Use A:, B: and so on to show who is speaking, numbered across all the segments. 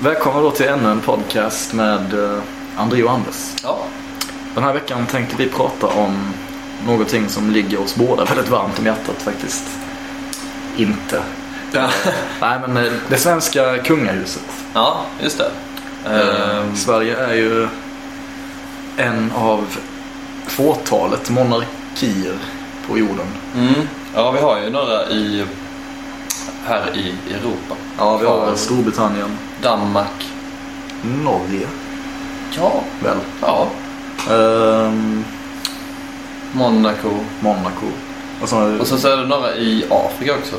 A: Välkomna då till ännu en podcast med eh, André och Anders.
B: Ja.
A: Den här veckan tänker vi prata om någonting som ligger oss båda väldigt varmt om hjärtat faktiskt. Inte.
B: Ja,
A: Nej men eh, det svenska kungahuset. Eh,
B: ja just det. Ehm,
A: Sverige är ju en av fåtalet monarkier på jorden.
B: mm, ja, vi har ju några i, här i Europa.
A: Ja, vi har Storbritannien,
B: Danmark.
A: Norge
B: Ja.
A: väl,
B: Ja.
A: ehm,
B: Monaco.
A: Monaco och så,
B: Och sen så är det några i Afrika också.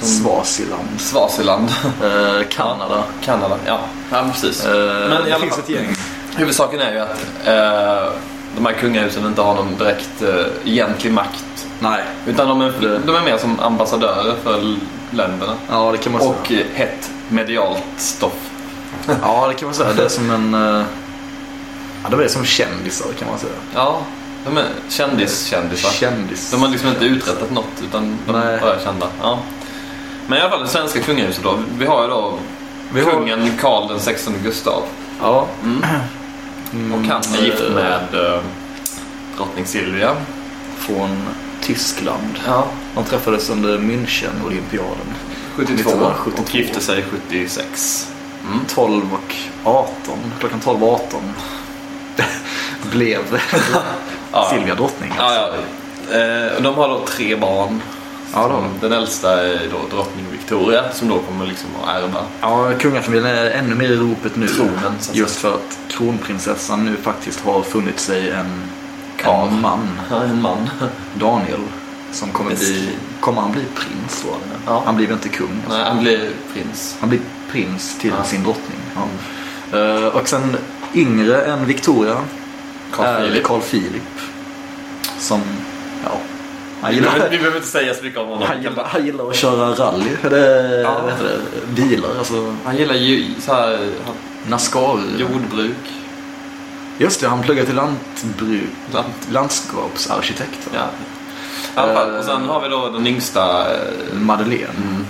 B: Som
A: Swaziland,
B: Swaziland.
A: eh, Kanada.
B: Kanada. Ja, ja precis.
A: Eh,
B: Men i
A: det
B: alla
A: finns
B: fall-
A: ett gäng.
B: Huvudsaken är ju att eh, de här kungahusen inte har någon direkt eh, egentlig makt.
A: Nej,
B: Utan de är, de är mer som ambassadörer för länderna.
A: ja det kan man säga.
B: Och eh, hett medialt stoff.
A: Ja, det kan man säga. Det är som en... eh, Ja, det är som kändisar kan man säga.
B: Ja, de är kändis-kändisar.
A: Kändis.
B: De har liksom inte uträttat något utan de
A: Nej.
B: är bara kända. Ja. Men i alla fall det svenska kungahuset då. Vi har ju då
A: Vi har-
B: kungen Karl den 16 Gustav.
A: Ja.
B: Och han är
A: eh,
B: gift med eh, drottning Silvia.
A: Från Tyskland.
B: Ja,
A: De träffades under München-olympiaden.
B: 72.
A: 1972.
B: Och gifte sig 76.
A: 12 och 18. Klockan 12 och 18 blev
B: Ja.
A: Silvia drottning.
B: Ja, ja. Eh, och de har då tre barn.
A: Ja, det har de.
B: Den äldsta är då drottning Victoria som då kommer liksom att ärva.
A: Ja, kungafamiljen är ännu mer i ropet nu.
B: Tronen, så att
A: just för att kronprinsessan nu faktiskt har funnit sig en,
B: Karl.
A: en man.
B: Ja, en man.
A: Daniel. Som kommer bli...
B: Visst.
A: Kommer han bli prins då? eller?
B: Ja.
A: Han blir väl inte kung? alltså.
B: Nej, han blir prins.
A: Han blir prins till
B: Ja. Mm.
A: sin drottning. Ja. Eh, och sen yngre än Victoria
B: Carl
A: är
B: Philip.
A: Carl Philip. Som, ja. Han
B: Vi behöver,
A: gillar,
B: vi behöver inte säga så mycket om honom.
A: han gillar, han gillar att köra rally. Det,
B: Ja.
A: vad heter det, bilar, alltså
B: Han gillar ju så här, han,
A: Nascar.
B: jordbruk.
A: Just det, han pluggar till lantbruk,
B: Lant-
A: landskapsarkitekt. va?
B: Ja. I alla fall,
A: Eh,
B: och sen har vi då den yngsta eh,
A: Madeleine.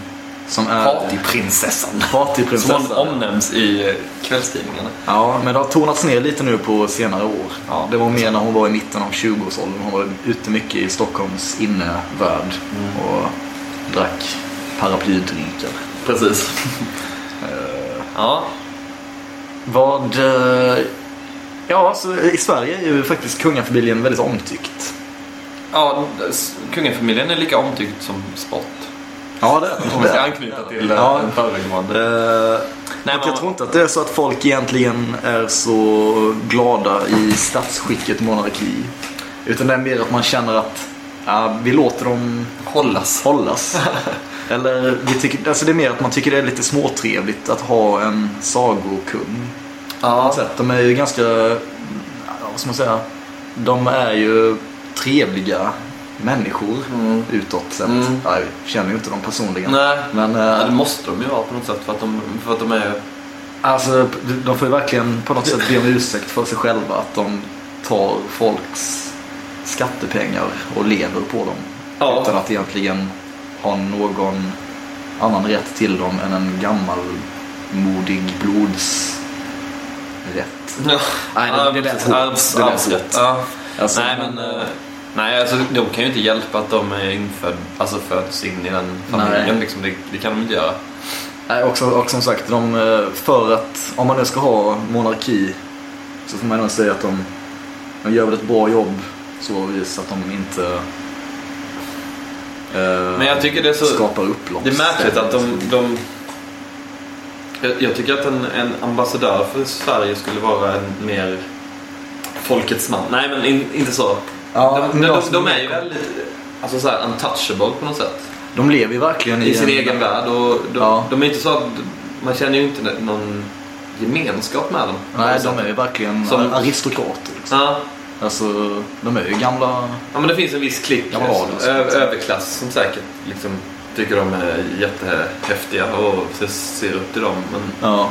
A: Som är
B: partyprinsessan.
A: partyprinsessan.
B: Som hon omnämns i eh, kvällstidningarna.
A: Ja, men det har tonats ner lite nu på senare år.
B: Ja.
A: det var mer när hon var i mitten av 20-årsåldern. Hon var ute mycket i Stockholms innevärld
B: Mm.
A: och drack paraplydrinkar.
B: Precis. Eh, ja.
A: Vad... eh, Ja, så i Sverige är ju faktiskt kungafamiljen väldigt omtyckt.
B: ja, s- kungafamiljen är lika omtyckt som sport.
A: Ja, det är
B: Om vi ska anknyta till eh,
A: Ja.
B: den föregående.
A: Eh,
B: Nej,
A: och
B: men-
A: jag tror inte att det är så att folk egentligen är så glada i statsskicket monarki. Utan det är mer att man känner att ja, vi låter dem
B: Hållas.
A: hållas. Eller vi tycker, alltså det är mer att man tycker det är lite småtrevligt att ha en sagokung. På något
B: Ja.
A: sätt. De är ju ganska, ja, vad ska man säga, de är ju trevliga människor utåt sett.
B: Mm.
A: Ja, jag känner ju inte dem personligen.
B: Nej.
A: Men eh,
B: Ja, det måste de ju vara på något sätt för att de, för att de är...
A: alltså, de får ju verkligen på något sätt be om ursäkt för sig själva att de tar folks skattepengar och lever på dem.
B: Ja.
A: Utan att egentligen ha någon annan rätt till dem än en gammal modig blodsrätt.
B: Ja.
A: Nej, det-
B: Ja,
A: det lät
B: precis.
A: hårt.
B: Arvs-
A: Det lät
B: arvsrätt.
A: hårt.
B: Ja.
A: Alltså,
B: nej, men, eh, nej, alltså, de kan ju inte hjälpa att de är infödd, alltså föds in i den
A: Nej.
B: familjen. Liksom, det, det kan de inte göra.
A: Nej, också, och som sagt, de, eh, för att om man nu ska ha monarki så får man nog säga att de, de gör väl ett bra jobb så vis att de inte eh,
B: Men jag tycker det är så-
A: skapar upplopp.
B: Det är märkligt att de... de jag, jag tycker att en, en ambassadör för Sverige skulle vara en mer folkets man. Nej, men in, inte så.
A: Ja,
B: de,
A: men
B: de,
A: jag
B: de,
A: som-
B: de är ju väldigt alltså, så här, untouchable på något sätt.
A: de lever ju verkligen
B: I sin egen värld. Och de,
A: Ja.
B: de är inte så att, man känner ju inte någon gemenskap med dem.
A: Nej, de är ju verkligen
B: Som-
A: aristokrater. Liksom.
B: Ja.
A: Alltså, de är ju gamla...
B: Ja men det finns en viss klick,
A: Ja, vad var det?
B: liksom, ö- överklass som säkert liksom, tycker de är jättehäftiga och ser- ser upp till dem. Men
A: Ja.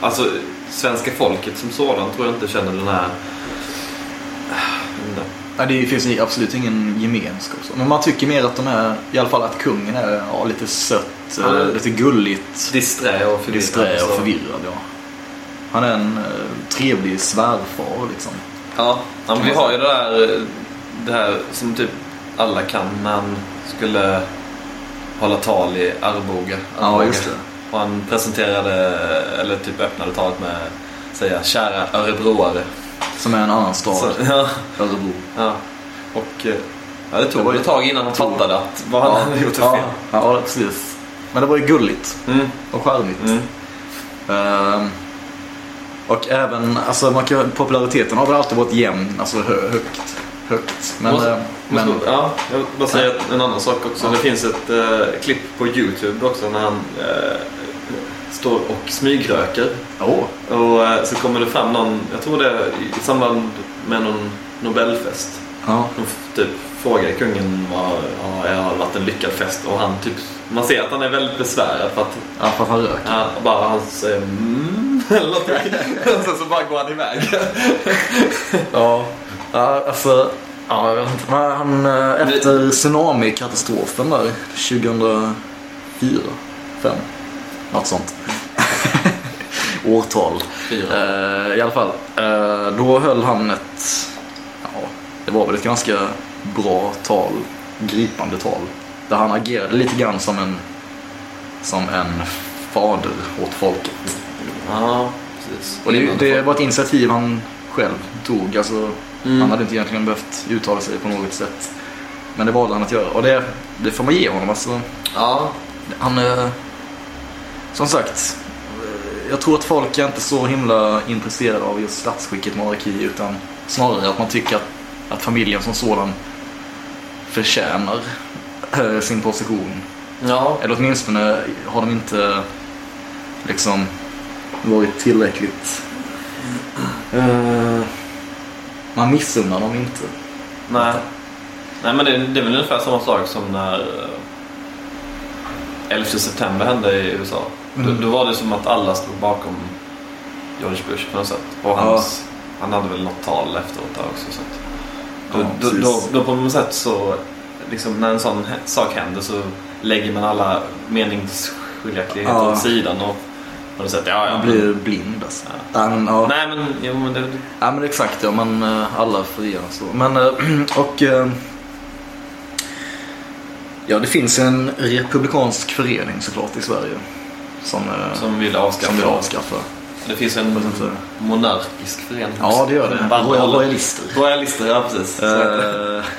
B: alltså svenska folket som sådant tror jag inte känner den här... äh, Nej.
A: Nej, det finns ju absolut ingen gemenskap. så. Men man tycker mer att de är, i alla fall att kungen är ja, lite sött lite,
B: Han är-
A: lite gulligt
B: Disträ och förvirrad.
A: disträ och
B: så-
A: förvirrad. Ja. Han är en eh, trevlig svärfar liksom.
B: Ja, ja men vi har ju det där, eh, det här som typ alla kan när han skulle hålla tal i Arboga.
A: Ja, just det.
B: Och han presenterade, eller typ öppnade talet med att säga kära örebroare.
A: Som är en annan stad,
B: Så, ja,
A: Örebro.
B: ja. Och eh, ja, det
A: Det
B: tog
A: var ju-
B: ett tag innan han
A: tog-
B: fattade att vad han hade gjort för
A: ja,
B: fel.
A: Ja, precis. Men det var ju gulligt
B: Mm,
A: och charmigt.
B: mm.
A: Ehm, och även, alltså man kan, populariteten har väl alltid varit jämn, alltså hö, högt. Högt. Men,
B: Måste-
A: eh, men
B: Måste- ja, jag vill bara säga en annan sak också.
A: Ja.
B: Det finns ett eh, klipp på Youtube också när han eh, står och smygröker.
A: åh,
B: Och eh, så kommer det fram någon, jag tror det är i samband med någon Nobelfest.
A: ja.
B: De f- typ frågar kungen vad, ja, jag har varit en lyckad fest och han typ, man ser att han är väldigt besvärad för att
A: Ja, för att han rök.
B: ja, bara han säger mm, eller någonting. Och Sen så bara går han iväg.
A: Ja, ja alltså. Ja, jag vet inte. Men han, eh, efter tsunamikatastrofen där 2004, 5 något sånt. Årtal.
B: Fyra.
A: Eh, I alla fall, eh, då höll han ett, ja, det var väl ett ganska bra tal, gripande tal. Där han agerade lite grann som en, som en fader åt folket.
B: Ja, precis.
A: Och det, det var ett initiativ han själv tog. Alltså,
B: Mm.
A: Han hade inte egentligen behövt uttala sig på något sätt. Men det valde han att göra. Och det, det får man ge honom. Alltså,
B: Ja,
A: han eh, Som sagt. eh, Jag tror att folk är inte så himla intresserade av just statsskicket monarki. Utan snarare att man tycker att, att familjen som sådan förtjänar eh, sin position.
B: ja.
A: Eller åtminstone har de inte liksom varit tillräckligt... Eh, man missunnar dem inte.
B: Nej. Nej men det, det är väl ungefär samma sak som när eh, 11 september hände i USA.
A: Mm.
B: Då, då var det som att alla stod bakom George Bush på något sätt. Och hans, han hade väl något tal efteråt där också. Så att,
A: Ja,
B: då, då, då,
A: precis.
B: då på något sätt så, liksom, när en sån hä- sak händer så lägger man alla meningsskiljaktigheter
A: Ja.
B: åt sidan och på något sätt, ja ja.
A: Man
B: men-
A: blir blind alltså. Ja. men, ja.
B: Nej men, jo, men det,
A: Ja men exakt ja, men eh, alla förenas då. Men, eh, och... eh, Ja, det finns en republikansk förening såklart i Sverige. Som, eh,
B: som vill avskaffa.
A: som vill avskaffa.
B: Det finns
A: Jag vet
B: en
A: inte.
B: monarkisk förening
A: Ja, det gör det.
B: Bara-
A: Royal- Royalister.
B: Royalister, ja precis. Så heter det.
A: Eh,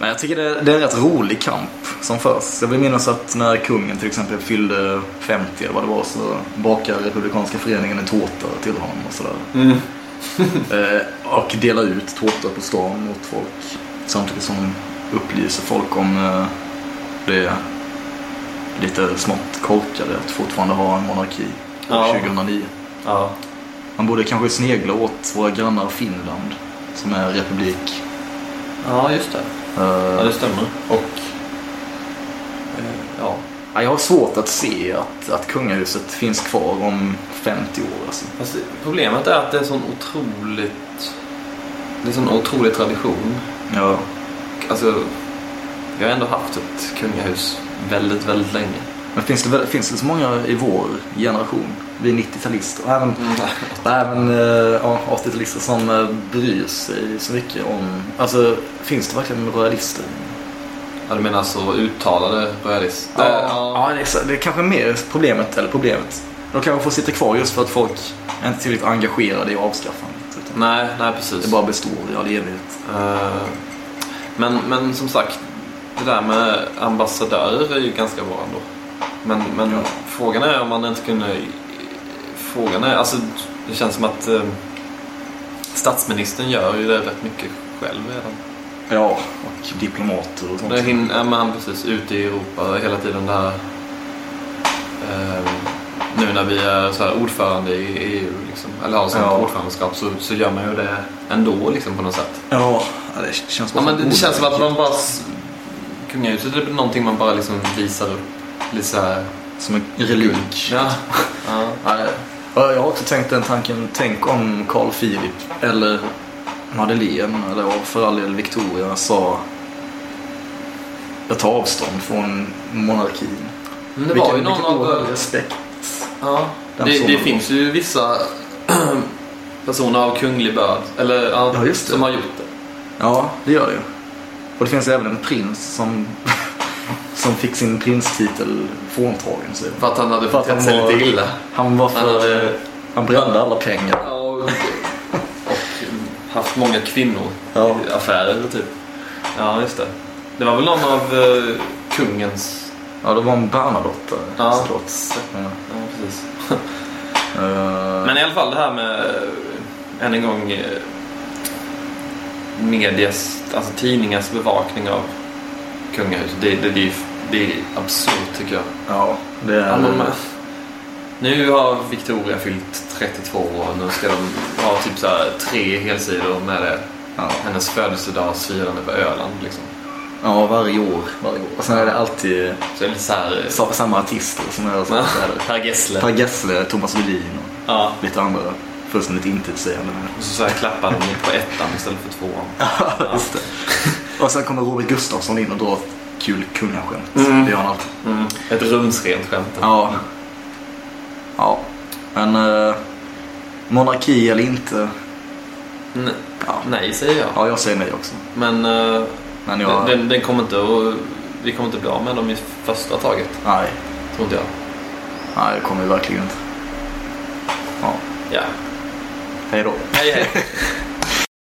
A: Men jag tycker det, det är en rätt rolig kamp som förs. Jag vill minnas att när kungen till exempel fyllde 50 eller vad det var så bakade Republikanska föreningen en tårta till honom och sådär.
B: Mm.
A: Eh, Och delar ut tårta på stan åt folk. Samtidigt som de upplyser folk om eh, det lite smått korkade att fortfarande ha en monarki
B: Ja.
A: 2009.
B: Ja.
A: Man borde kanske snegla åt våra grannar Finland som är republik.
B: ja, just det.
A: Eh,
B: Ja, det stämmer. Och... eh, Ja,
A: Ja, Jag har svårt att se att, att kungahuset finns kvar om 50 år. Alltså.
B: fast problemet är att det är sån otroligt... Det är sån otrolig tradition.
A: Ja.
B: Alltså, vi har ändå haft ett kungahus väldigt, väldigt länge.
A: Men finns det, väl- finns det så många i vår generation? Vi 90-talister och även,
B: Mm.
A: och även eh, ja, 80-talister som eh, bryr sig så mycket om... Alltså, finns det verkligen royalister?
B: Ja, du menar så uttalade royalister?
A: Eh, ja det, är, så- det är kanske mer problemet, eller problemet. De kanske får sitta kvar just för att folk är inte tillräckligt engagerade i avskaffandet. Utan
B: Nej, nej precis.
A: det bara består i all evighet.
B: Eh, Men, men som sagt, det där med ambassadörer är ju ganska bra ändå. Men, men
A: Ja.
B: frågan är om man inte kunde... Frågan är, alltså det känns som att eh, statsministern gör ju det rätt mycket själv redan.
A: Ja, och diplomater och sånt.
B: Det hin- ja, men han precis ute i Europa hela tiden där. eh, nu när vi är så här ordförande i EU, liksom, eller har sånt
A: Ja.
B: ordförandeskap, så, så gör man ju det ändå liksom, på något sätt.
A: Ja, ja, det känns
B: Ja,
A: bara
B: men
A: som
B: det, det känns som att
A: onödigt.
B: man bara... s- Kungahuset är typ någonting man bara liksom visar upp. Lite såhär...
A: Som en relik. Ja.
B: Ja. ja.
A: Ja, Jag har också tänkt den tanken. Tänk om Carl Philip eller Madeleine eller för all del Victoria sa jag tar avstånd från monarkin.
B: Men det
A: vilken,
B: var ju någon
A: vilken oerhörd
B: av...
A: respekt.
B: Ja,
A: Den
B: det, det
A: sonen.
B: finns ju vissa personer av kunglig börd eller, ja,
A: Ja, just det.
B: som har gjort det.
A: Ja, det gör det ju. Och det finns ju även en prins som, som fick sin prinstitel fråntagen. Så.
B: För att han hade
A: För att
B: betett
A: han
B: sig
A: var-
B: lite illa.
A: Han var
B: Han
A: för...
B: hade
A: Han brände alla pengar.
B: ja, och, och haft många kvinnor
A: Ja.
B: i affärer typ. Ja, just det. Det var väl någon av eh, kungens...
A: Ja, det var en Bernadotte
B: Ja.
A: såklart. Ja.
B: Ja, precis.
A: Eh,
B: Men i alla fall det här med, eh, än en gång, eh, medias, alltså tidningars bevakning av kungahuset. Det, det, det, är ju- det är absurt tycker jag.
A: ja, det är...
B: Alla de här- Nu har Victoria fyllt 32 år och nu ska de ha typ så här tre helsidor med det.
A: Ja.
B: Hennes födelsedagsfirande på Öland liksom.
A: ja, varje år. Varje år. Och sen är det alltid
B: Så det är lite så här...
A: sa- samma artister som är så
B: Ja.
A: här.
B: Per Gessle.
A: Per Gessle, Thomas Ledin och
B: Ja.
A: lite andra fullständigt intetsägande.
B: Och så, så här klappar de på ettan istället för tvåan.
A: Ja, just det. Och sen kommer Robert Gustafsson in och drar ett kul kungaskämt.
B: Mm.
A: Det gör han alltid.
B: Ett rumsrent skämt.
A: Ja. Ja. Men eh, monarki eller inte.
B: N-
A: Ja.
B: Nej, säger jag.
A: ja, jag säger nej också.
B: Men eh,
A: Men jag...
B: den, den kommer inte att, vi kommer inte bli av med dem i första taget,
A: Nej.
B: tror inte jag.
A: Nej, det kommer vi verkligen inte. Ja.
B: Ja.
A: Hej då.
B: Hej, hej.